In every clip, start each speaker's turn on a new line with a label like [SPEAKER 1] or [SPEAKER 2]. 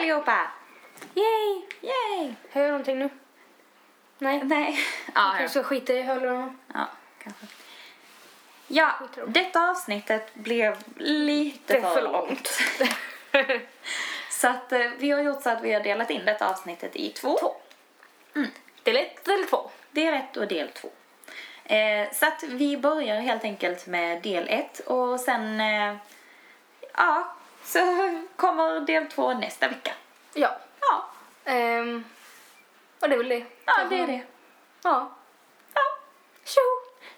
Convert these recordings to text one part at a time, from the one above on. [SPEAKER 1] allihopa! Yay! Yay!
[SPEAKER 2] Hör jag någonting nu? Nej.
[SPEAKER 1] Nej. Ja,
[SPEAKER 2] Kanske
[SPEAKER 1] ja.
[SPEAKER 2] ska skita i hörlurarna.
[SPEAKER 1] ja kanske. Ja, detta avsnittet blev lite
[SPEAKER 2] Det är
[SPEAKER 1] för
[SPEAKER 2] för
[SPEAKER 1] långt. så att eh, vi har gjort så att vi har delat in detta avsnittet i två.
[SPEAKER 2] Två. Del ett, del två.
[SPEAKER 1] Del 1 och del 2. Eh, så att vi börjar helt enkelt med del 1 och sen eh, ja, så kommer del 2 nästa vecka.
[SPEAKER 2] Ja.
[SPEAKER 1] Ja,
[SPEAKER 2] Ehm, och det är väl det.
[SPEAKER 1] ja det är det.
[SPEAKER 2] Ja.
[SPEAKER 1] Ja.
[SPEAKER 2] Tjo!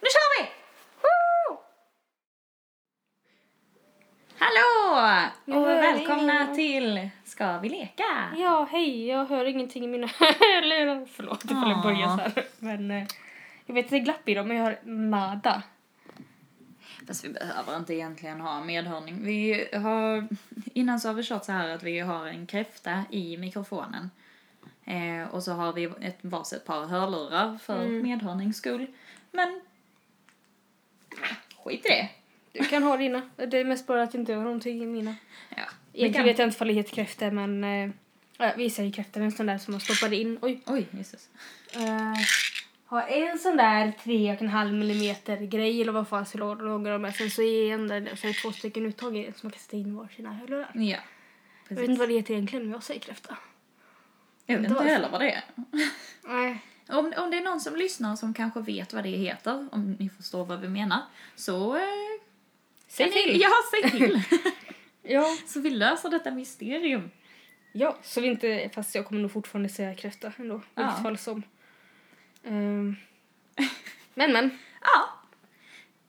[SPEAKER 1] Nu kör vi! Woo! Hallå!
[SPEAKER 2] Jag
[SPEAKER 1] Och
[SPEAKER 2] hör
[SPEAKER 1] välkomna
[SPEAKER 2] ingen.
[SPEAKER 1] till Ska vi leka?
[SPEAKER 2] Ja, hej. Jag hör ingenting i mina hörlurar. Förlåt ifall jag börjar så här. Men, eh, jag vet att det är glapp i dem, men jag hör nada.
[SPEAKER 1] Fast vi behöver inte egentligen ha medhörning. Vi har, innan så har vi kört så här att vi har en kräfta i mikrofonen. Eh, och så har vi ett varsitt par hörlurar för medhörnings skull. Men ah, skit i det.
[SPEAKER 2] Du kan ha dina. Det är mest bara att jag inte hör någonting i mina.
[SPEAKER 1] Ja, vi
[SPEAKER 2] Egentligen
[SPEAKER 1] kan.
[SPEAKER 2] vet jag inte ifall det heter kräftor, men... Eh, ja, vi säger kräftor, en sån där som man stoppade in. Oj.
[SPEAKER 1] Oj, Jesus.
[SPEAKER 2] Eh, har en sån där 3,5 mm grej eller vad fan så låg de med. Sen så är en där, så är det två stycken uttag i den som man kan sätta in var sina hörlurar.
[SPEAKER 1] Ja,
[SPEAKER 2] Jag vet inte
[SPEAKER 1] precis.
[SPEAKER 2] vad det heter egentligen, men jag säger kräfta.
[SPEAKER 1] Jag vet
[SPEAKER 2] inte
[SPEAKER 1] inte
[SPEAKER 2] varför.
[SPEAKER 1] heller vad det är.
[SPEAKER 2] Nej.
[SPEAKER 1] Om, om det är någon som lyssnar som kanske vet vad det heter, om ni förstår vad vi menar, så... Eh,
[SPEAKER 2] Säg
[SPEAKER 1] kan ni-
[SPEAKER 2] till.
[SPEAKER 1] Ja, säg till!
[SPEAKER 2] Ja.
[SPEAKER 1] så vi löser detta mysterium.
[SPEAKER 2] ja, så vi inte, fast jag kommer nog fortfarande säga kräfta ändå. I
[SPEAKER 1] Ja.
[SPEAKER 2] vilket fall som. Ehm, men men.
[SPEAKER 1] Ja.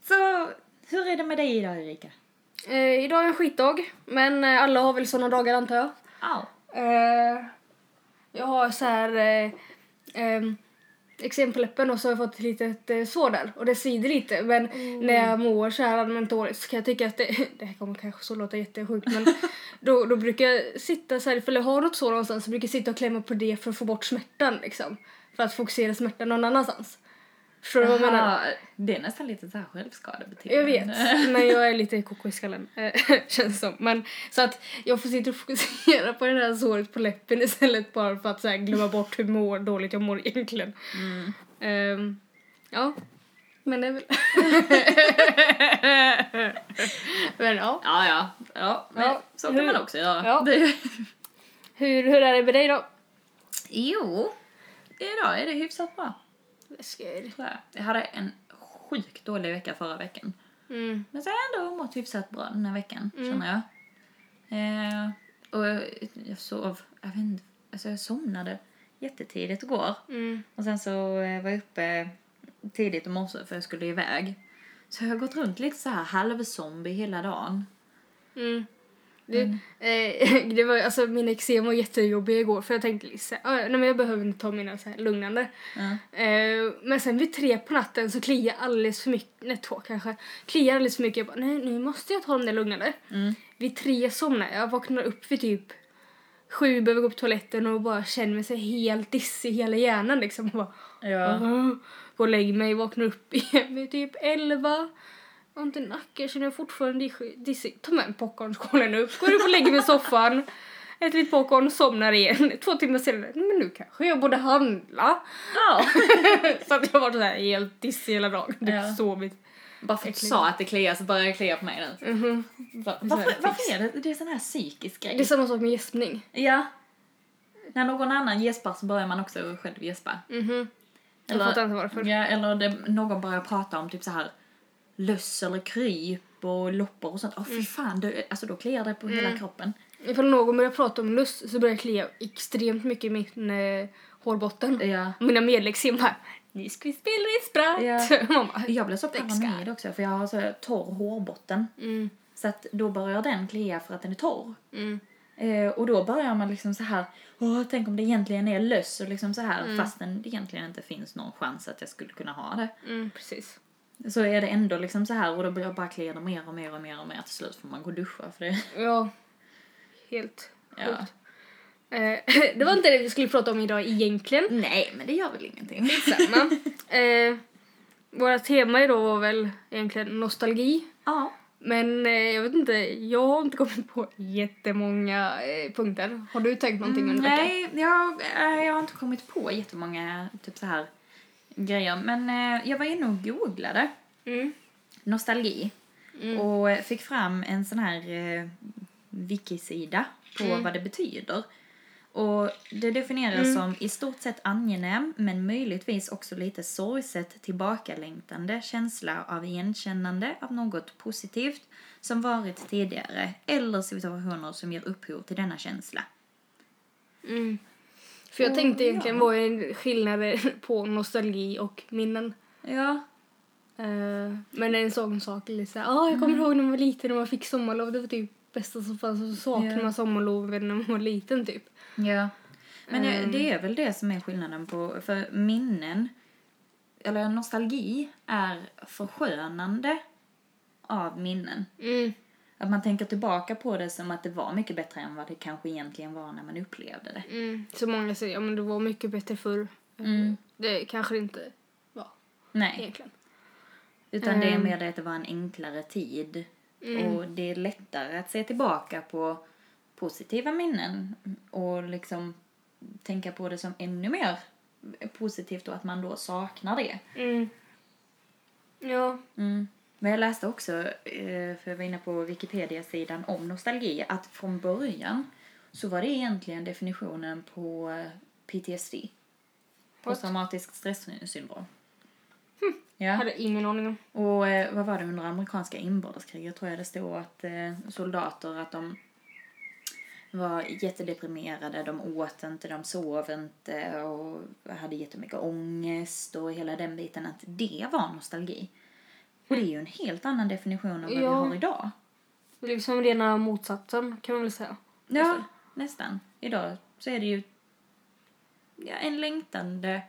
[SPEAKER 1] Så hur är det med dig idag Erika?
[SPEAKER 2] Eh, idag är en skitdag, men eh, alla har väl såna dagar antar jag.
[SPEAKER 1] Ja.
[SPEAKER 2] Eh, jag har så här eh, ehm, exemläppen och så har jag fått ett litet eh, sår där och det svider lite men när jag mår så här allmänt dåligt så kan jag tycka att det, det här kommer kanske så låta jättesjukt men då, då brukar jag sitta så här ifall jag har något sår någonstans så brukar jag sitta och klämma på det för att få bort smärtan liksom. För att fokusera smärtan någon annanstans. Förstår du vad jag menar?
[SPEAKER 1] Aha, det är nästan lite så här självskadebeteende.
[SPEAKER 2] Jag vet, men jag är lite koko i skallen. eh, Känns som. Men, så att jag får sitta och fokusera på det här såret på läppen istället bara för att så här, glömma bort hur mår, dåligt jag mår egentligen.
[SPEAKER 1] Mm.
[SPEAKER 2] Ehm, ja, men det är väl... men ja.
[SPEAKER 1] Ja, ja. ja, men
[SPEAKER 2] Ja,
[SPEAKER 1] så kan
[SPEAKER 2] hur-
[SPEAKER 1] man också göra.
[SPEAKER 2] Ja.
[SPEAKER 1] Det-
[SPEAKER 2] Hur, hur är det med dig då?
[SPEAKER 1] Jo, idag är det hyfsat bra.
[SPEAKER 2] Läskigt.
[SPEAKER 1] tror jag. Jag hade en sjukt dålig vecka förra veckan.
[SPEAKER 2] Mm.
[SPEAKER 1] Men så har jag ändå mått hyfsat bra den här veckan, känner jag. Eh, och jag, jag sov, jag vet inte, alltså jag somnade jättetidigt igår.
[SPEAKER 2] Mm.
[SPEAKER 1] Och sen så eh, var jag uppe tidigt i morse för jag skulle iväg. Så jag har gått runt lite så här halvzombie hela dagen.
[SPEAKER 2] Mm. Det, eh, det var, alltså, min eksem var jättejobbig igår för jag tänkte liksom, "Ah, nej, men jag behöver inte ta mina så här, lugnande.
[SPEAKER 1] Ja.
[SPEAKER 2] Eh, men sen vid tre på natten så kliar jag alldeles för mycket, nej två kanske, kliar alldeles för mycket. Jag bara, nej nu måste jag ta de där lugnande.
[SPEAKER 1] mm.
[SPEAKER 2] Vid tre somnar jag, vaknar upp vid typ sju, behöver gå på toaletten och bara känner mig så helt dissig i hela hjärnan liksom. Och bara,
[SPEAKER 1] Ja.
[SPEAKER 2] "Åh." Går och lägger mig, vaknar upp igen vid typ elva. Ont i nacken, känner jag fortfarande dis- dissig. Ta med en popcornskålen upp, går upp och lägger mig i soffan. Äter lite popcorn, somnar igen. Två timmar senare, "Nej, men nu kanske jag borde handla.
[SPEAKER 1] ja.
[SPEAKER 2] Så att jag har varit så här helt dissig hela dagen. Typ
[SPEAKER 1] Ja.
[SPEAKER 2] sovit.
[SPEAKER 1] Bara för att du
[SPEAKER 2] Äckligt.
[SPEAKER 1] sa att det kliar så börjar det klia på mig nu. Va- Varför,
[SPEAKER 2] Exakt.
[SPEAKER 1] varför är det? Det är sån här psykisk
[SPEAKER 2] Det är
[SPEAKER 1] grej.
[SPEAKER 2] samma sak med gäspning.
[SPEAKER 1] Ja. När någon annan gäspar så börjar man också själv gäspa.
[SPEAKER 2] Mhm. Jag fattar inte varför.
[SPEAKER 1] Ja, eller det, någon börjar prata om typ så här löss eller kryp och loppor och sånt. Åh
[SPEAKER 2] Mm.
[SPEAKER 1] fy fan, det, alltså då kliar det på hela kroppen.
[SPEAKER 2] Ifall någon börjar prata om lust så börjar jag klia extremt mycket i min eh, hårbotten.
[SPEAKER 1] Ja.
[SPEAKER 2] Och Mina medlexem bara Nu ska vi spela i spratt. Mamma.
[SPEAKER 1] Jag blev så
[SPEAKER 2] Växka.
[SPEAKER 1] paranoid också för jag har så här torr hårbotten.
[SPEAKER 2] Mm,
[SPEAKER 1] Så att då börjar den klia för att den är torr.
[SPEAKER 2] mm,
[SPEAKER 1] Eh, och då börjar man liksom så här, åh tänk om det egentligen är löss och liksom så här
[SPEAKER 2] Mm.
[SPEAKER 1] fastän det egentligen inte finns någon chans att jag skulle kunna ha det.
[SPEAKER 2] mm, precis.
[SPEAKER 1] Så är det ändå liksom så här och då blir jag bara klia det mer och mer och mer och mer till slut får man gå och duscha för det.
[SPEAKER 2] Ja. Helt
[SPEAKER 1] Ja.
[SPEAKER 2] sjukt. Eh, det var inte det vi skulle prata om idag egentligen.
[SPEAKER 1] Nej men det gör väl ingenting.
[SPEAKER 2] Samma. eh, våra tema idag var väl egentligen nostalgi.
[SPEAKER 1] Ja.
[SPEAKER 2] Men eh, jag vet inte, jag har inte kommit på jättemånga eh, punkter. Har du tänkt någonting under veckan?
[SPEAKER 1] Mm, Nej, jag, eh, jag har inte kommit på jättemånga typ så här grejer. Men eh, jag var inne och googlade
[SPEAKER 2] Mm.
[SPEAKER 1] nostalgi
[SPEAKER 2] Mm.
[SPEAKER 1] och fick fram en sån här eh, wiki-sida på
[SPEAKER 2] Mm.
[SPEAKER 1] vad det betyder. Och det definieras som i stort sett angenäm men möjligtvis också lite sorgset tillbakalängtande känsla av igenkännande av något positivt som varit tidigare eller situationer som ger upphov till denna känsla.
[SPEAKER 2] Mm. För jag
[SPEAKER 1] Och
[SPEAKER 2] tänkte
[SPEAKER 1] Oh, ja.
[SPEAKER 2] egentligen vad är skillnaden på nostalgi och minnen?
[SPEAKER 1] Ja,
[SPEAKER 2] Eh, men en sån sak är lite såhär, ah, jag
[SPEAKER 1] Mm.
[SPEAKER 2] kommer ihåg när man var liten och man fick sommarlov. Det var typ bästa som fanns och så saknar
[SPEAKER 1] Ja.
[SPEAKER 2] man sommarloven när man var liten typ.
[SPEAKER 1] Ja. Men det-
[SPEAKER 2] Ehm.
[SPEAKER 1] det är väl det som är skillnaden på, för minnen, eller nostalgi, är förskönande av minnen.
[SPEAKER 2] Mm.
[SPEAKER 1] Att man tänker tillbaka på det som att det var mycket bättre än vad det kanske egentligen var när man upplevde det.
[SPEAKER 2] Mm. Så många säger, ja men det var mycket bättre förr.
[SPEAKER 1] Mm.
[SPEAKER 2] Det kanske det inte var
[SPEAKER 1] Nej,
[SPEAKER 2] egentligen.
[SPEAKER 1] utan det är
[SPEAKER 2] Ehm.
[SPEAKER 1] mer det att det var en enklare tid.
[SPEAKER 2] Mm.
[SPEAKER 1] Och det är lättare att se tillbaka på positiva minnen och liksom tänka på det som ännu mer positivt och att man då saknar det.
[SPEAKER 2] Mm. Ja.
[SPEAKER 1] Mm. Men jag läste också, eh, för jag var inne på Wikipedia-sidan om nostalgi, att från början så var det egentligen definitionen på eh, PTSD. Posttraumatisk stresssyndrom.
[SPEAKER 2] Jag
[SPEAKER 1] Ja.
[SPEAKER 2] hade ingen aning om.
[SPEAKER 1] Och eh, vad var det under amerikanska inbördeskriget tror jag det stod att eh, soldater att de var jättedeprimerade, de åt inte, de sov inte och hade jättemycket ångest och hela den biten att det var nostalgi. Och det är ju en helt annan definition av vad vi
[SPEAKER 2] Ja.
[SPEAKER 1] har idag.
[SPEAKER 2] Det är liksom rena motsatsen kan man väl säga.
[SPEAKER 1] Ja, Alltså, nästan. Idag så är det ju ja, en längtande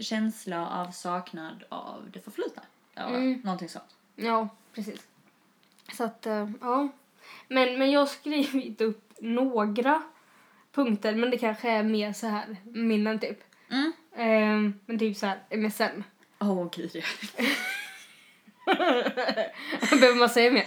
[SPEAKER 1] känsla av saknad av det förflutna. Ja,
[SPEAKER 2] Mm.
[SPEAKER 1] Någonting sånt.
[SPEAKER 2] Ja, precis. Så att, eh, ja. Men, men jag har skrivit upp några punkter, men det kanske är mer så här minnen typ.
[SPEAKER 1] Mm.
[SPEAKER 2] Eh, men typ så här MSN.
[SPEAKER 1] Åh, oh, gud ja.
[SPEAKER 2] Behöver man säga mer?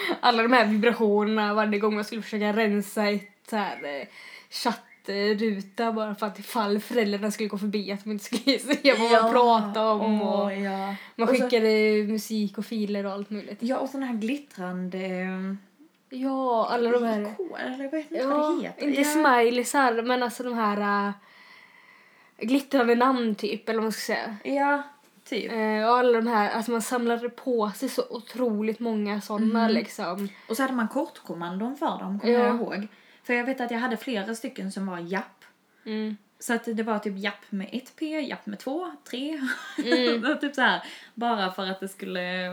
[SPEAKER 2] Alla de här vibrationerna varje gång man skulle försöka rensa ett så här eh, chattruta bara för att ifall föräldrarna skulle gå förbi att man inte skulle se vad man pratade om.
[SPEAKER 1] åh,
[SPEAKER 2] Och
[SPEAKER 1] ja. Och
[SPEAKER 2] man
[SPEAKER 1] så-
[SPEAKER 2] skickade musik och filer och allt möjligt.
[SPEAKER 1] Ja, och såna här glittrande...
[SPEAKER 2] Ja, alla de här...
[SPEAKER 1] Kor, eller jag vet inte vad
[SPEAKER 2] Ja,
[SPEAKER 1] det heter.
[SPEAKER 2] inte
[SPEAKER 1] ja.
[SPEAKER 2] smileysar, men alltså de här äh, glittrande namn typ, eller vad man ska säga.
[SPEAKER 1] Ja, typ.
[SPEAKER 2] Eh, och alla de här, alltså man samlade på sig så otroligt många sådana
[SPEAKER 1] Mm.
[SPEAKER 2] liksom.
[SPEAKER 1] Och så hade man kortkommandon för dem, kommer
[SPEAKER 2] Ja.
[SPEAKER 1] jag ihåg. För jag vet att jag hade flera stycken som var japp.
[SPEAKER 2] Mm.
[SPEAKER 1] Så att det var typ japp med ett P, japp med två, tre.
[SPEAKER 2] Mm.
[SPEAKER 1] Och typ så här. Bara för att det skulle...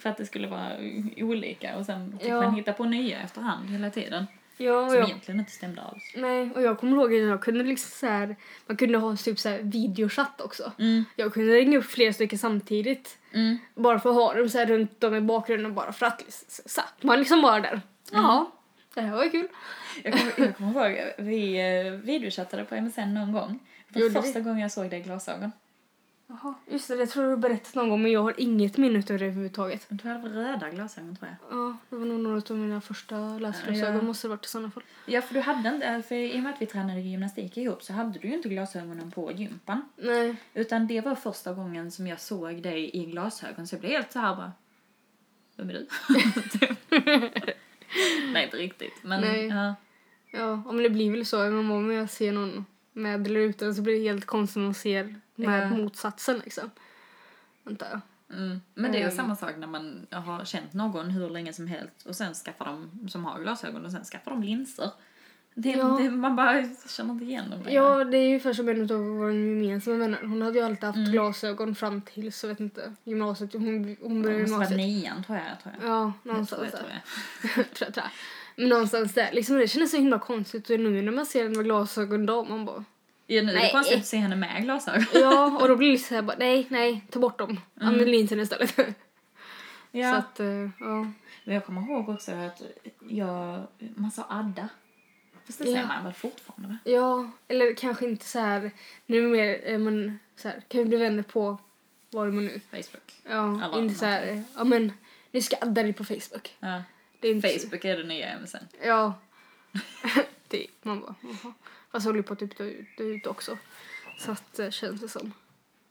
[SPEAKER 1] För att det skulle vara olika och sen fick
[SPEAKER 2] Ja.
[SPEAKER 1] man hitta på nya efterhand hela tiden.
[SPEAKER 2] Ja, och
[SPEAKER 1] Som
[SPEAKER 2] jag,
[SPEAKER 1] egentligen inte stämde alls.
[SPEAKER 2] nej, och jag kommer ihåg att jag kunde liksom så här, man kunde ha typ så här videochatt också.
[SPEAKER 1] Mm,
[SPEAKER 2] Jag kunde ringa upp flera stycken samtidigt.
[SPEAKER 1] mm.
[SPEAKER 2] Bara för att ha dem så här runt om i bakgrunden bara för att liksom, så satt man liksom bara där. Ja, det här var ju kul.
[SPEAKER 1] Jag kommer, jag kommer ihåg, vi eh, videochattade på MSN någon gång. Det var
[SPEAKER 2] Gjorde
[SPEAKER 1] första gången jag såg dig i glasögon.
[SPEAKER 2] Jaha, just det, det tror jag du berättat någon gång men jag har inget minne av det överhuvudtaget.
[SPEAKER 1] Du hade väl röda glasögon tror jag?
[SPEAKER 2] Ja, det var nog några av mina första läsglasögon
[SPEAKER 1] Ja.
[SPEAKER 2] måste det varit i sådana fall.
[SPEAKER 1] Ja, för du hade inte, eh, för i och med att vi tränade gymnastik ihop så hade du ju inte glasögonen på gympan.
[SPEAKER 2] Nej.
[SPEAKER 1] Utan det var första gången som jag såg dig i glasögon så jag blev helt så här bara... Vem är du? Nej, inte riktigt. Men
[SPEAKER 2] Nej.
[SPEAKER 1] ja.
[SPEAKER 2] Ja, om det blir väl så. Men om jag ser någon med eller utan så blir det helt konstigt om man ser med
[SPEAKER 1] Ja.
[SPEAKER 2] motsatsen liksom. Vänta. jag.
[SPEAKER 1] Mm. Men det är
[SPEAKER 2] Mm.
[SPEAKER 1] samma sak när man har känt någon hur länge som helst och sen skaffar de som har glasögon och sen skaffar de linser. Det,
[SPEAKER 2] Ja.
[SPEAKER 1] det, man bara känner inte igen dem längre.
[SPEAKER 2] Ja, det är ju ungefär som en av våra gemensamma vänner. Hon hade ju alltid haft
[SPEAKER 1] Mm.
[SPEAKER 2] glasögon fram till, så vet inte, gymnasiet. Hon, hon
[SPEAKER 1] Det
[SPEAKER 2] började
[SPEAKER 1] måste vara
[SPEAKER 2] gymnasiet.
[SPEAKER 1] nian tror jag. Tror jag.
[SPEAKER 2] Ja,
[SPEAKER 1] jag, tror
[SPEAKER 2] någonstans
[SPEAKER 1] jag,
[SPEAKER 2] där.
[SPEAKER 1] tror jag.
[SPEAKER 2] tror jag, tror jag. Men någonstans där. Liksom, det kändes så himla konstigt. Och nu när man ser henne med glasögon då, man bara...
[SPEAKER 1] Ja, nu är det
[SPEAKER 2] Nej.
[SPEAKER 1] konstigt att se henne med glasögon.
[SPEAKER 2] Ja, och då blir det så här bara, nej, nej, ta bort dem. Använd linsen istället. Så
[SPEAKER 1] Mm. Ja.
[SPEAKER 2] att, eh, ja.
[SPEAKER 1] Men jag kommer ihåg också att jag, man sa Adda. Fast det säger
[SPEAKER 2] Ja.
[SPEAKER 1] man väl fortfarande? va?
[SPEAKER 2] Ja, eller kanske inte så här, nu mer, eh, men så här, kan vi bli vänner på vad det må nu.
[SPEAKER 1] Facebook.
[SPEAKER 2] Ja,
[SPEAKER 1] Alla
[SPEAKER 2] inte så här, eh, ja men nu skaddar du på Facebook.
[SPEAKER 1] Ja.
[SPEAKER 2] Det är inte
[SPEAKER 1] Facebook är det nya MSN.
[SPEAKER 2] Ja. det, man bara, jaha. Fast jag håller ju på att typ dö ut- dö ut också. Så att eh, känns det som.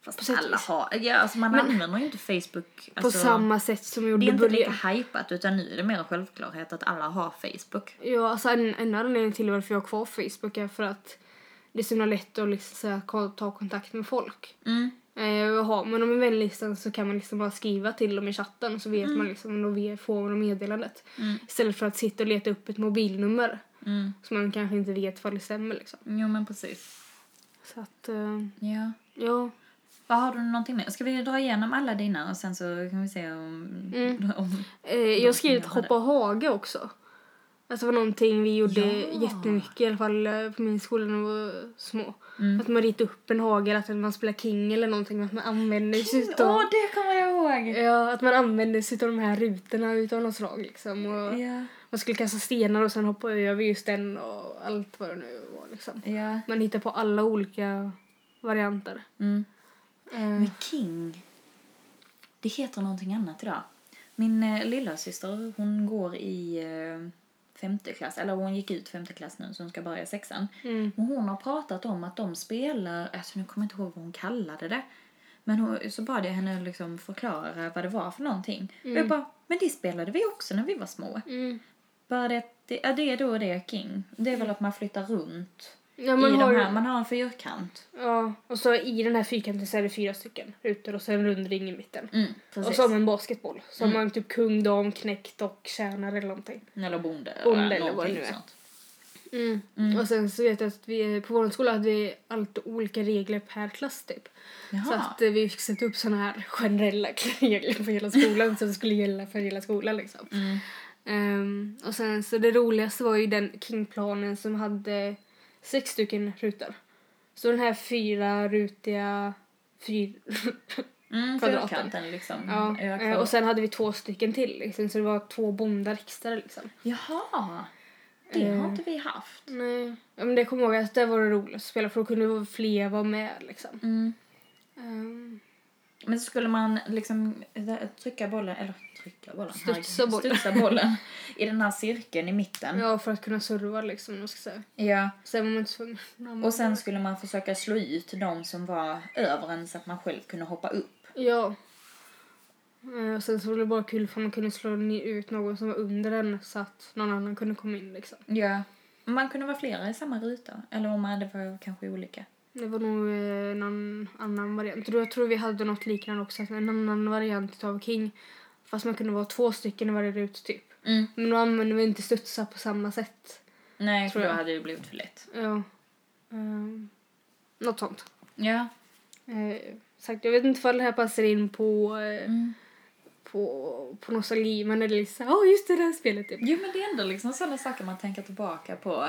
[SPEAKER 1] Fast
[SPEAKER 2] På sätt och
[SPEAKER 1] alla
[SPEAKER 2] vis.
[SPEAKER 1] har, ja, alltså man använder ju inte Facebook.
[SPEAKER 2] På
[SPEAKER 1] Alltså,
[SPEAKER 2] samma sätt som jag
[SPEAKER 1] det
[SPEAKER 2] gjorde
[SPEAKER 1] är
[SPEAKER 2] i
[SPEAKER 1] inte
[SPEAKER 2] början.
[SPEAKER 1] lika hypat utan nu är det mer en självklarhet att alla har Facebook.
[SPEAKER 2] Ja, alltså en, en anledning till varför jag har kvar Facebook är för att det är så himla lätt att liksom, så här, ko- ta kontakt med folk.
[SPEAKER 1] Mm.
[SPEAKER 2] Eh, jaha, men om en vänlistan så kan man liksom bara skriva till dem i chatten så vet man liksom och vi får man meddelandet.
[SPEAKER 1] Mm.
[SPEAKER 2] Istället för att sitta och leta upp ett mobilnummer
[SPEAKER 1] Mm.
[SPEAKER 2] som man kanske inte vet vad det stämmer liksom.
[SPEAKER 1] Jo men precis.
[SPEAKER 2] Så att, eh,
[SPEAKER 1] Ja.
[SPEAKER 2] ja.
[SPEAKER 1] Vad har du någonting mer? Ska vi dra igenom alla dina och sen så kan vi se om...
[SPEAKER 2] Mm.
[SPEAKER 1] om
[SPEAKER 2] Eh, jag har skrivit
[SPEAKER 1] som gör det.
[SPEAKER 2] hoppa hage också. Alltså det var någonting vi gjorde
[SPEAKER 1] Ja.
[SPEAKER 2] jättemycket i alla fall eh, på min skola när vi var små.
[SPEAKER 1] Mm.
[SPEAKER 2] Att man ritar upp en hage eller att man spelar king eller någonting. Att man använder sig
[SPEAKER 1] Åh,
[SPEAKER 2] utav,
[SPEAKER 1] det kommer jag ihåg!
[SPEAKER 2] ja, att man använder sig utav de här rutorna utav något slag liksom. Och
[SPEAKER 1] Ja.
[SPEAKER 2] Man skulle kasta stenar och sen hoppa över just den och allt vad det nu var liksom.
[SPEAKER 1] ja.
[SPEAKER 2] Man hittar på alla olika varianter.
[SPEAKER 1] Mm.
[SPEAKER 2] Eh,
[SPEAKER 1] Men King, det heter någonting annat idag. Min eh, lilla syster, hon går i eh, femte klass, eller hon gick ut femte klass nu så hon ska börja sexan.
[SPEAKER 2] mm.
[SPEAKER 1] Och hon har pratat om att de spelar, alltså nu kommer jag inte ihåg vad hon kallade det. Men hon, så bad jag henne liksom förklara vad det var för någonting. Och jag bara, men det spelade vi också när vi var små.
[SPEAKER 2] Mm.
[SPEAKER 1] Bara det, att det, ja, det är då det är king. Det är väl att man flyttar runt
[SPEAKER 2] Ja, man
[SPEAKER 1] i
[SPEAKER 2] har
[SPEAKER 1] de
[SPEAKER 2] ju-
[SPEAKER 1] här, man har en fyrkant.
[SPEAKER 2] Ja, och så i den här fyrkanten så är det fyra stycken rutor och så en rund ring i mitten.
[SPEAKER 1] Mm,
[SPEAKER 2] Och
[SPEAKER 1] precis.
[SPEAKER 2] så har man basketboll. Så har man typ kung, dam, knekt och tjänare eller någonting.
[SPEAKER 1] Eller bonde.
[SPEAKER 2] Bonde eller vad
[SPEAKER 1] någonting
[SPEAKER 2] det nu är.
[SPEAKER 1] sånt.
[SPEAKER 2] Mm. Och sen så vet jag att vi på vår skola hade vi alltid olika regler per klass typ. Så
[SPEAKER 1] Jaha.
[SPEAKER 2] att eh, vi fick sätta upp såna här generella regler för hela skolan så det skulle gälla för hela skolan liksom.
[SPEAKER 1] Mm.
[SPEAKER 2] Ehm, och sen så det roligaste var ju den kingplanen som hade sex stycken rutor. Så den här fyra rutiga fyr...
[SPEAKER 1] Mm,
[SPEAKER 2] kvadraten.
[SPEAKER 1] fyrkanten liksom.
[SPEAKER 2] Ja,
[SPEAKER 1] Ö,
[SPEAKER 2] eh, och
[SPEAKER 1] kvadrat.
[SPEAKER 2] sen hade vi två stycken till liksom, så det var två bondar extra liksom.
[SPEAKER 1] Jaha. Det har
[SPEAKER 2] Eh.
[SPEAKER 1] inte vi haft.
[SPEAKER 2] Nej. Ja, men det kommer jag ihåg att det var det roligt att spela för då kunde fler vara med liksom.
[SPEAKER 1] Mm.
[SPEAKER 2] Ehm,
[SPEAKER 1] Men så skulle man liksom eh, trycka bollen, eller trycka bollen,
[SPEAKER 2] Studsa
[SPEAKER 1] herregud,
[SPEAKER 2] bollen.
[SPEAKER 1] studsa bollen i den här cirkeln i mitten. Ja.
[SPEAKER 2] ja, för att kunna serva liksom, om man ska säga. Sen var man inte tvungen.
[SPEAKER 1] Och sen skulle man försöka slå ut de som var över en så att man själv kunde hoppa upp.
[SPEAKER 2] Ja. Eh, Och sen så var det bara kul för man kunde slå ner ut någon som var under den så att någon annan kunde komma in liksom.
[SPEAKER 1] Ja. Man kunde vara flera i samma ruta, eller om man hade var kanske olika.
[SPEAKER 2] Det var nog eh, någon annan variant. Jag tror vi hade något liknande också, att en annan variant av King. Fast man kunde vara två stycken i varje rut typ.
[SPEAKER 1] Mm.
[SPEAKER 2] Men då använde vi inte studsa på samma sätt.
[SPEAKER 1] Nej, för
[SPEAKER 2] Tror
[SPEAKER 1] då
[SPEAKER 2] jag.
[SPEAKER 1] hade det blivit för lätt.
[SPEAKER 2] Ja. Um, något sånt.
[SPEAKER 1] Ja.
[SPEAKER 2] Eh, sagt, jag vet inte ifall det här passar in på, eh,
[SPEAKER 1] Mm.
[SPEAKER 2] på, på nostalgi, men det är lite såhär, åh just det, det här spelet typ.
[SPEAKER 1] Jo, men det är ändå liksom sådana saker man tänker tillbaka på.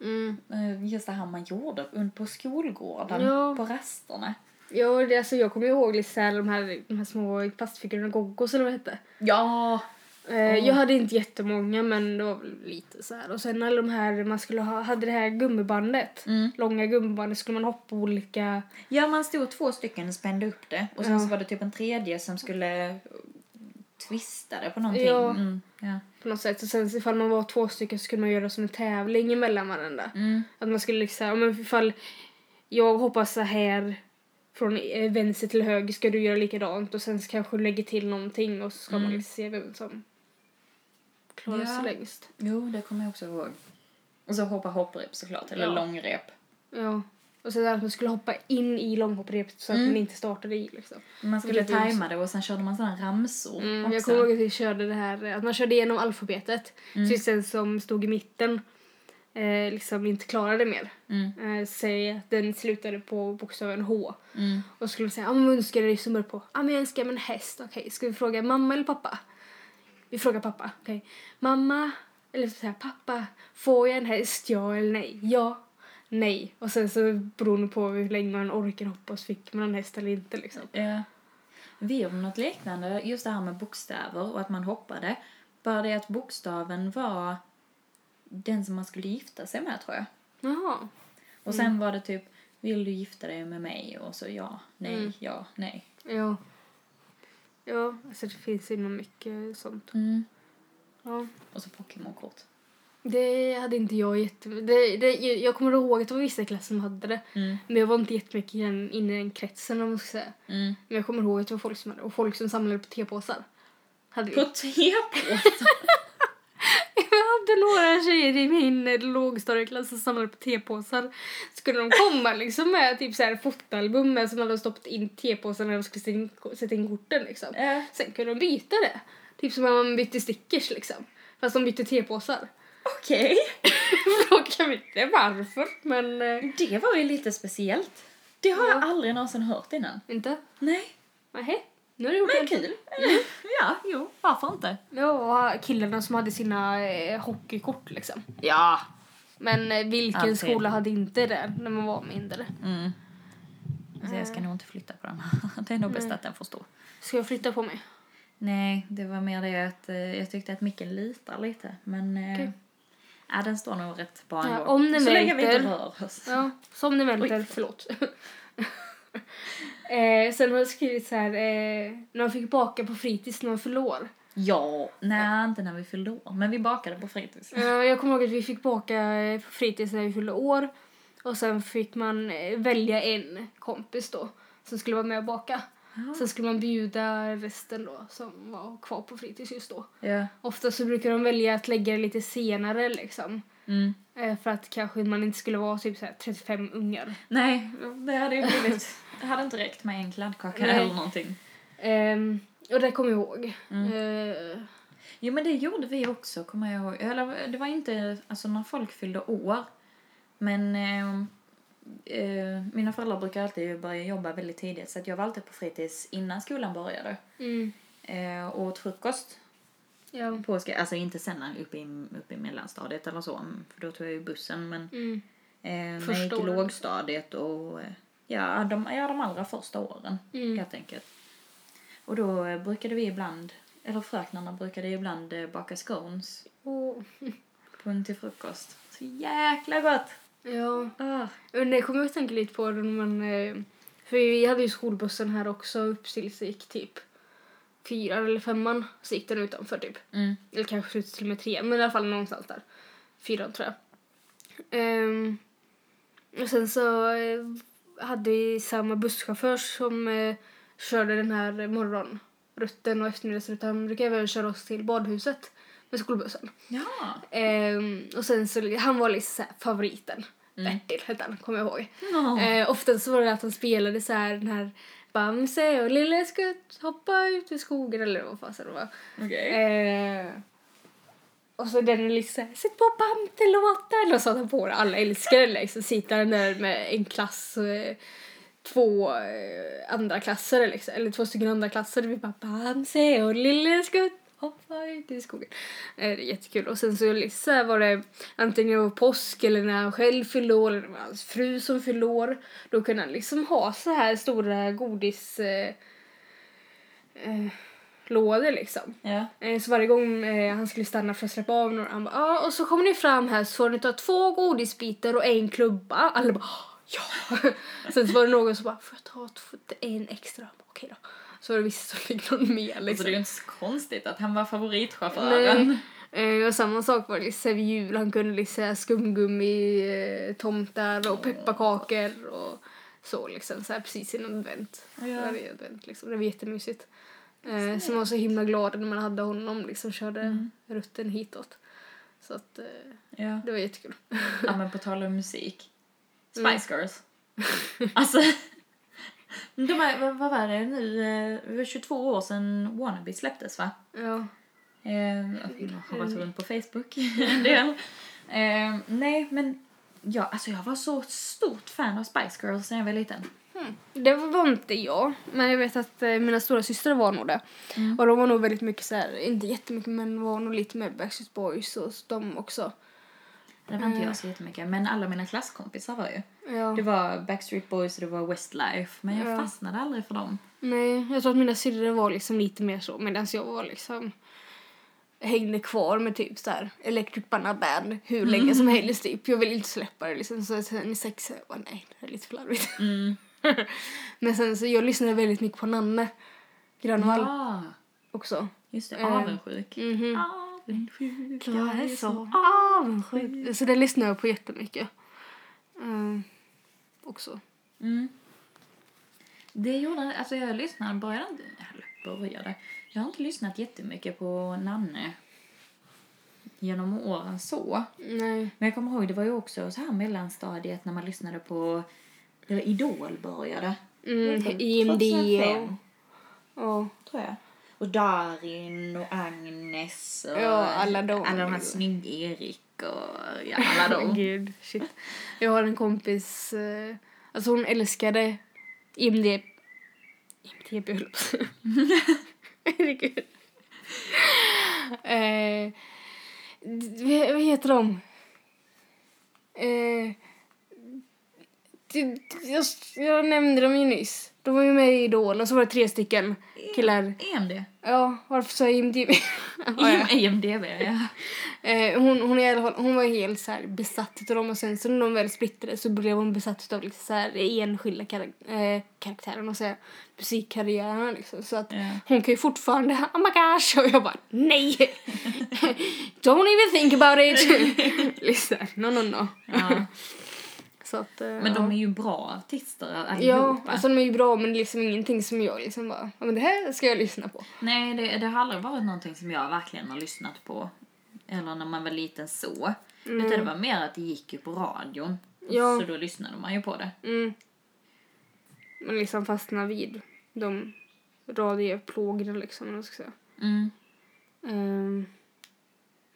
[SPEAKER 2] Mm.
[SPEAKER 1] Eh, Just det här man gjorde un- på skolgården,
[SPEAKER 2] Ja.
[SPEAKER 1] på rasterna.
[SPEAKER 2] Ja, det, alltså, jag kommer ihåg lite såhär, de, här, de här små plastfigurerna, goggos eller vad det hette.
[SPEAKER 1] Ja!
[SPEAKER 2] Eh, Jag hade inte jättemånga, men det var väl lite så här. Och sen alla de här, man skulle ha, hade det här gummibandet.
[SPEAKER 1] Mm.
[SPEAKER 2] Långa gummibandet skulle man hoppa på olika...
[SPEAKER 1] Ja, man stod två stycken och spände upp det. Och sen
[SPEAKER 2] Ja.
[SPEAKER 1] så var det typ en tredje som skulle eh, twista det på någonting.
[SPEAKER 2] Ja.
[SPEAKER 1] Mm. Ja.
[SPEAKER 2] På något sätt. Och sen så ifall man var två stycken så kunde man göra som en tävling emellan varandra.
[SPEAKER 1] Mm.
[SPEAKER 2] Att man skulle liksom, ja, men ifall jag hoppar så här från eh, vänster till höger ska du göra likadant och sen så kanske du lägger till någonting och så ska man
[SPEAKER 1] Mm.
[SPEAKER 2] liksom se vem som klarar
[SPEAKER 1] Ja.
[SPEAKER 2] sig längst.
[SPEAKER 1] Jo, det kommer jag också ihåg. Och så hoppa hopprep såklart, eller
[SPEAKER 2] Ja.
[SPEAKER 1] långrep.
[SPEAKER 2] Ja. Och sen att man skulle hoppa in i långhopprepet så att
[SPEAKER 1] Mm.
[SPEAKER 2] man inte startade i liksom.
[SPEAKER 1] Man skulle
[SPEAKER 2] Och det är
[SPEAKER 1] tajma det och sen körde man sådana ramsor
[SPEAKER 2] Mm,
[SPEAKER 1] också.
[SPEAKER 2] jag kommer ihåg att vi körde det här, att man körde igenom alfabetet
[SPEAKER 1] Mm.
[SPEAKER 2] tills den som stod i mitten eh, liksom inte klarade mer.
[SPEAKER 1] Mm.
[SPEAKER 2] Eh, säg att den slutade på bokstaven H
[SPEAKER 1] Mm.
[SPEAKER 2] och skulle säga, ah, men vad önskar du dig som börjar på? Ja ah, men jag önskar mig en häst, okej. Ska vi fråga mamma eller pappa? Vi frågar pappa, okej. Mamma, eller så här, pappa, får jag en häst, ja eller nej? Ja, nej. Och sen så beroende på hur länge man orkar hoppa så fick man en häst eller inte liksom.
[SPEAKER 1] Ja. Vi gjorde något liknande, just det här med bokstäver och att man hoppade. Bara det att bokstaven var den som man skulle gifta sig med, tror jag.
[SPEAKER 2] Jaha.
[SPEAKER 1] Och sen var det typ, vill du gifta dig med mig? Och så ja, nej, ja, nej.
[SPEAKER 2] Ja. Ja, alltså det finns ju nog mycket sånt.
[SPEAKER 1] Mm.
[SPEAKER 2] Ja.
[SPEAKER 1] Och så Pokémon-kort.
[SPEAKER 2] Det hade inte jag jätte... Det, det, jag kommer ihåg att det var vissa i klassen som hade det.
[SPEAKER 1] Mm.
[SPEAKER 2] Men jag var inte jättemycket i den- inne i den kretsen om man ska säga.
[SPEAKER 1] Mm.
[SPEAKER 2] Men jag kommer ihåg att det var folk som hade Och folk som samlade på tepåsar. Hade vi.
[SPEAKER 1] På tepåsar?
[SPEAKER 2] Jag hade några tjejer i min eh, lågstadieklass som samlade på tepåsar. Skulle de komma liksom med typ så här fotoalbum med som hade stoppat in tepåsar när de skulle sätta in, sätta in korten liksom.
[SPEAKER 1] Eh,
[SPEAKER 2] Sen kunde de byta det. Typ som när man bytte stickers liksom. Fast de bytte tepåsar.
[SPEAKER 1] Okej.
[SPEAKER 2] Fråga mig inte varför men... eh,
[SPEAKER 1] Det var ju lite speciellt. Det har jag
[SPEAKER 2] Ja.
[SPEAKER 1] aldrig någonsin hört innan.
[SPEAKER 2] Inte?
[SPEAKER 1] Nej.
[SPEAKER 2] Nej. Nu har du gjort
[SPEAKER 1] Men
[SPEAKER 2] det.
[SPEAKER 1] kul. ja, jo. Varför inte?
[SPEAKER 2] Ja, killarna som hade sina eh, hockeykort liksom.
[SPEAKER 1] Ja.
[SPEAKER 2] Men eh, vilken
[SPEAKER 1] Alltid.
[SPEAKER 2] skola hade inte det när man var mindre?
[SPEAKER 1] Mm. Alltså, jag ska nog inte flytta på den här. Det är nog bäst att den får stå.
[SPEAKER 2] Ska jag flytta på mig?
[SPEAKER 1] Nej, det var mer det att eh, jag tyckte att micken litar lite. Men eh,
[SPEAKER 2] Okej.
[SPEAKER 1] ja, den står nog rätt bra
[SPEAKER 2] Ja,
[SPEAKER 1] ändå.
[SPEAKER 2] om den
[SPEAKER 1] Så länge vi inte
[SPEAKER 2] välter.
[SPEAKER 1] rör oss.
[SPEAKER 2] Ja, som ni väntar. Förlåt. eh, sen har jag skrivit så här, eh, när man fick baka på fritids när man förlor.
[SPEAKER 1] Ja, nej inte när vi fyllde år. Men vi bakade på fritids.
[SPEAKER 2] Eh, jag kommer ihåg att vi fick baka eh, på fritids när vi fyllde år. Och sen fick man eh, välja en kompis då som skulle vara med och baka. Sen skulle man bjuda resten då som var kvar på fritids just då.
[SPEAKER 1] Ja.
[SPEAKER 2] Ofta så brukar de välja att lägga det lite senare liksom.
[SPEAKER 1] Mm.
[SPEAKER 2] Eh, För att kanske man inte skulle vara typ så här 35 ungar.
[SPEAKER 1] Nej, det hade ju blivit... Det hade inte räckt med en kladdkaka
[SPEAKER 2] Nej.
[SPEAKER 1] eller någonting.
[SPEAKER 2] Ehm, och det kommer jag ihåg. Eh,
[SPEAKER 1] Jo men det gjorde vi också kommer jag ihåg. Eller det var inte alltså, när folk fyllde år. Men eh, eh, mina föräldrar brukar alltid börja jobba väldigt tidigt så att jag var alltid på fritids innan skolan började.
[SPEAKER 2] mm,
[SPEAKER 1] Eh, och åt frukost
[SPEAKER 2] ja.
[SPEAKER 1] på ska, alltså inte sällan uppe i, uppe i mellanstadiet eller så mm, för då tog jag ju bussen men
[SPEAKER 2] Mm,
[SPEAKER 1] eh, när jag
[SPEAKER 2] Första
[SPEAKER 1] gick i
[SPEAKER 2] åren.
[SPEAKER 1] lågstadiet och eh, ja de, ja, de allra första åren
[SPEAKER 2] Mm.
[SPEAKER 1] helt enkelt. Och då eh, brukade vi ibland, eller fröknarna brukade ibland eh, baka scones
[SPEAKER 2] och,
[SPEAKER 1] Punkt till frukost. Så jäkla gott!
[SPEAKER 2] ja.
[SPEAKER 1] Ah.
[SPEAKER 2] Men det kommer jag att tänka lite på när man... eh, För vi hade ju skolbussen här också upp tills det gick typ fyra eller femman. Så gick den utanför typ.
[SPEAKER 1] Mm.
[SPEAKER 2] Eller kanske ut till och med tre, men i alla fall någonstans där. Fyran tror jag. Ehm, och sen så eh, hade vi samma busschaufför som eh, körde den här morgonrutten och eftermiddagsrutten. Han brukade även köra oss till badhuset med skolbussen.
[SPEAKER 1] Ja.
[SPEAKER 2] Ehm, och sen så, han var liksom så här favoriten.
[SPEAKER 1] Mm.
[SPEAKER 2] Bertil hette han, kommer jag ihåg.
[SPEAKER 1] No.
[SPEAKER 2] Eh, ofta så var det att han spelade så här den här Bamse och Lille Skutt hoppa ut i skogen eller vad fasen det var.
[SPEAKER 1] Okej.
[SPEAKER 2] Eh, och så den är lite såhär, sätt på Bamse-låten! Och så hade han på det, alla älskar den liksom. Sitter han där med en klass, eh, två eh, andra klasser liksom, eller två stycken andra klasser. Vi bara Bamse och lille skutt hoppa ut i skogen. Eh, det är jättekul. Och sen så liksom, så här var det antingen det var påsk eller när han själv fyllde år eller när det var hans fru som fyllde år. Då kunde han liksom ha så här stora godis... Eh, eh, lådor liksom.
[SPEAKER 1] Ja.
[SPEAKER 2] Eh, Så varje gång eh, han skulle stanna för att släppa av några, han bara ah, och så kommer ni fram här så får ni ta två godisbitar och en klubba. Alla bara "Ah, ja. Sen så var det någon som bara får jag ta två, en extra? Han bara, Okej då. Så var det vissa som fick någon mer
[SPEAKER 1] Alltså det är
[SPEAKER 2] liksom.
[SPEAKER 1] ju inte så konstigt att han var favoritchauffören.
[SPEAKER 2] Men, eh, och samma sak var det liksom vid jul, han kunde liksom skumgummi, eh, tomtar och pepparkakor och så liksom så här precis innan advent.
[SPEAKER 1] Ja.
[SPEAKER 2] Det var ju advent liksom, det var jättemysigt. Eh, som var så himla glad när man hade honom liksom körde rutten hitåt. Så att eh,
[SPEAKER 1] Ja.
[SPEAKER 2] det var jättekul.
[SPEAKER 1] ja men på tal om musik.
[SPEAKER 2] Mm.
[SPEAKER 1] Spice Girls. alltså. De här, vad- vad var det nu? eh, Det var 22 år sedan Wannabe släpptes va?
[SPEAKER 2] Ja.
[SPEAKER 1] Eh, jag har varit runt på Facebook en del. Eh, nej men ja, alltså jag var så stort fan av Spice Girls när jag var liten.
[SPEAKER 2] Det var inte jag, men jag vet att eh, mina stora systrar var nog det. Och de var nog väldigt mycket så här, inte jättemycket men var nog lite med Backstreet Boys och de också.
[SPEAKER 1] Det var
[SPEAKER 2] Mm.
[SPEAKER 1] inte jag så jättemycket men alla mina klasskompisar var ju.
[SPEAKER 2] Ja.
[SPEAKER 1] Det var Backstreet Boys och det var Westlife, men jag
[SPEAKER 2] Ja.
[SPEAKER 1] fastnade aldrig för dem.
[SPEAKER 2] Nej, jag tror att mina syrror var liksom lite mer så medan jag var liksom hängde kvar med typ så här Electric Banana Band hur Mm. länge som helst typ. Jag ville inte släppa det liksom så sen i sex jag bara nej, det här är lite för larvigt. men sen så jag lyssnade väldigt mycket på Nanne Grönvall
[SPEAKER 1] Ja,
[SPEAKER 2] också.
[SPEAKER 1] Ah, just det.
[SPEAKER 2] Eh,
[SPEAKER 1] Avundsjuk.
[SPEAKER 2] Mhm.
[SPEAKER 1] Avundsjuk.
[SPEAKER 2] Jag är så avundsjuk. Så det lyssnar jag på jättemycket. Mm. Också.
[SPEAKER 1] Mm. Det gjorde, alltså jag lyssnade, började inte, eller började. Jag har inte lyssnat jättemycket på Nanne genom åren så.
[SPEAKER 2] Nej.
[SPEAKER 1] Men jag kommer ihåg, det var ju också så här mellanstadiet när man lyssnade på, det var Idol började.
[SPEAKER 2] Mm.
[SPEAKER 1] Inte-
[SPEAKER 2] IMD
[SPEAKER 1] 2005,
[SPEAKER 2] och... och
[SPEAKER 1] tror jag. Och Darin och Agnes och
[SPEAKER 2] Ja, alla de.
[SPEAKER 1] alla de här snygg-Erik och ja, alla de.
[SPEAKER 2] Gud, shit. Jag har en kompis, eh, alltså hon älskade IMD... IMDB höll jag på att säga. Herregud. Eh, d- vad- vad heter de? Eh, d- d- jag, jag nämnde dem ju nyss. De var ju med i Idol och så var det tre stycken killar.
[SPEAKER 1] EMD.
[SPEAKER 2] Ja, varför sa jag IMDB? Ja, ja.
[SPEAKER 1] EM, EMDB, E ja.
[SPEAKER 2] Eh, hon, hon, är i alla fall, hon var helt så här besatt utav dem och sen så när de väl splittrades så blev hon besatt utav liksom så här enskilda karak- eh, karaktären och så här, musikkarriärerna liksom. Så att
[SPEAKER 1] Ja.
[SPEAKER 2] hon kan ju fortfarande oh my gosh och jag bara nej! Don't even think about it! Listen, no no no.
[SPEAKER 1] ja.
[SPEAKER 2] Så att, eh,
[SPEAKER 1] Men de
[SPEAKER 2] ja.
[SPEAKER 1] är ju bra artister
[SPEAKER 2] Ja,
[SPEAKER 1] allihopa.
[SPEAKER 2] alltså de är ju bra men liksom ingenting som jag liksom bara, ja men det här ska jag lyssna på.
[SPEAKER 1] Nej, det, det har aldrig varit någonting som jag verkligen har lyssnat på. Eller när man var liten så. Utan det var mer att det gick ju på radion.
[SPEAKER 2] Ja.
[SPEAKER 1] Så då lyssnade man ju på det.
[SPEAKER 2] Mm. Man liksom fastnar vid de radioplågorna liksom, eller vad ska jag säga.
[SPEAKER 1] Mm.
[SPEAKER 2] Ehm,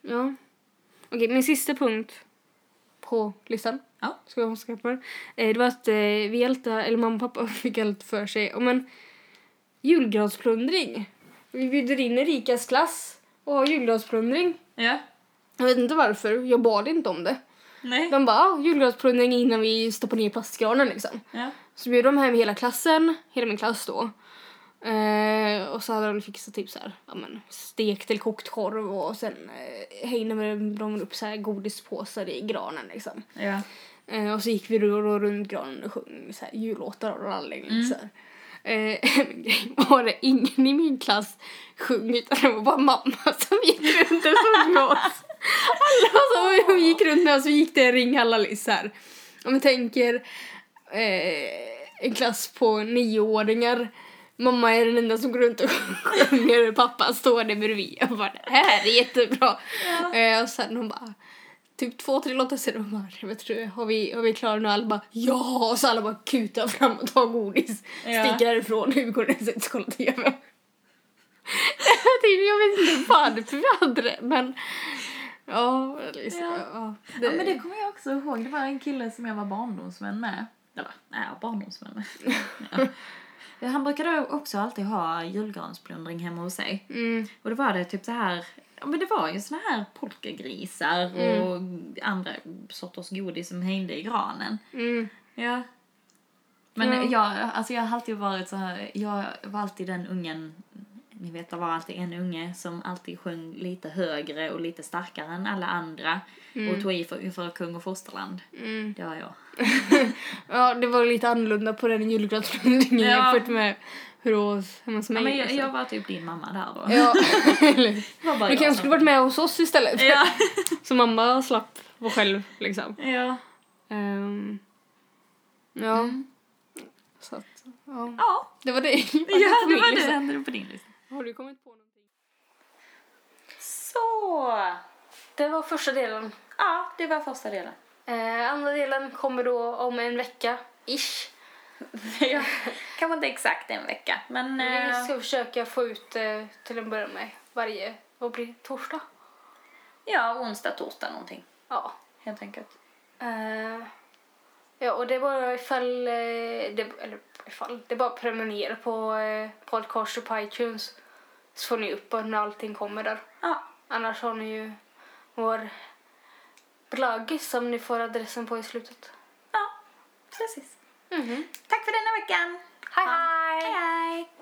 [SPEAKER 2] ja. Okej, min sista punkt på listan.
[SPEAKER 1] Ja.
[SPEAKER 2] Ska jag skaffa på den? Eh, det var att eh, vi hjälpte, eller mamma och pappa fick allt för sig om en julgransplundring. Vi bjuder in Erikas klass och har julgransplundring.
[SPEAKER 1] Ja.
[SPEAKER 2] Jag vet inte varför, jag bad inte om det.
[SPEAKER 1] Nej.
[SPEAKER 2] De bara, ah, julgransplundring innan vi stoppar ner plastgranen liksom.
[SPEAKER 1] Ja.
[SPEAKER 2] Så bjöd de hem hela klassen, hela min klass då. Eh, och så hade de fixat typ så här, ja men stekt eller kokt korv och sen eh, hängde de upp så här godispåsar i granen liksom.
[SPEAKER 1] Ja.
[SPEAKER 2] Eh, och så gick vi då, då runt granen och sjöng så här jullåtar och rallyng mm. så här. Eh, men grejen var det ingen i min klass sjöng utan det var bara mamma som gick runt och sjöng med oss. Alla som Alltså, gick runt med oss så gick det en ring alla liksom här. Om vi tänker eh, en klass på nioåringar. Mamma är den enda som går runt och sjunger och pappa står där bredvid och bara det här är jättebra. Eh, och sen hon bara Typ två, tre låtar sen hon bara, jag tror, har vi, har vi klarat nu? Alla bara ja! Och så alla bara kutar fram och tar godis.
[SPEAKER 1] Ja.
[SPEAKER 2] Sticker härifrån, nu går det inte kolla TV. Jag tänkte, jag vet inte varför vi hade det men ja, liksom,
[SPEAKER 1] Ja.
[SPEAKER 2] ja. ja,
[SPEAKER 1] ja, men det kommer jag också ihåg. Det var en kille som jag var barndomsvän med. Eller, nej, barndomsvän med. ja. Han brukade också alltid ha julgransplundring hemma hos sig.
[SPEAKER 2] Mm,
[SPEAKER 1] Och då var det typ så här, ja men det var ju såna här polkagrisar och andra sorters godis som hängde i granen.
[SPEAKER 2] mm.
[SPEAKER 1] Ja. Men
[SPEAKER 2] Ja.
[SPEAKER 1] jag, alltså jag har alltid varit så här, jag var alltid den ungen, ni vet det var alltid en unge som alltid sjöng lite högre och lite starkare än alla andra och tog i för, för kung och fosterland.
[SPEAKER 2] Mm.
[SPEAKER 1] Det var jag.
[SPEAKER 2] Ja, det var lite annorlunda på den
[SPEAKER 1] Ja.
[SPEAKER 2] julgransplundringen jämfört med hur det var hemma hos
[SPEAKER 1] Ja,
[SPEAKER 2] mig.
[SPEAKER 1] men jag,
[SPEAKER 2] liksom.
[SPEAKER 1] jag var typ din mamma där då.
[SPEAKER 2] ja.
[SPEAKER 1] Det var bara
[SPEAKER 2] Du
[SPEAKER 1] jag
[SPEAKER 2] kanske
[SPEAKER 1] som-
[SPEAKER 2] skulle varit med hos oss istället.
[SPEAKER 1] Ja.
[SPEAKER 2] Så mamma slapp vara själv liksom.
[SPEAKER 1] ja.
[SPEAKER 2] Ehm, ja. Så att, ja.
[SPEAKER 1] Ja,
[SPEAKER 2] Det var det.
[SPEAKER 1] Mm. ja det
[SPEAKER 2] min
[SPEAKER 1] var det
[SPEAKER 2] lista.
[SPEAKER 1] som hände på din lista.
[SPEAKER 2] Har du kommit på någonting?
[SPEAKER 1] Så!
[SPEAKER 2] Det var första delen.
[SPEAKER 1] Ja, det var första delen.
[SPEAKER 2] Eh, andra delen kommer då om en vecka, ish.
[SPEAKER 1] ja, kanske inte exakt en vecka, men...
[SPEAKER 2] Vi
[SPEAKER 1] eh,
[SPEAKER 2] ska försöka få ut eh, till en början med varje, vad blir det, torsdag?
[SPEAKER 1] Ja, onsdag, torsdag någonting.
[SPEAKER 2] Ja.
[SPEAKER 1] Helt enkelt.
[SPEAKER 2] Eh, ja, och det är bara ifall, eh, det, eller ifall, det är bara att prenumerera på eh, podcaster på iTunes så får ni upp när allting kommer där.
[SPEAKER 1] Ja.
[SPEAKER 2] Annars har ni ju vår blogg som ni får adressen på i slutet.
[SPEAKER 1] Ja, precis. Tack för denna veckan!
[SPEAKER 2] Mhm. Hej hej!
[SPEAKER 1] hej!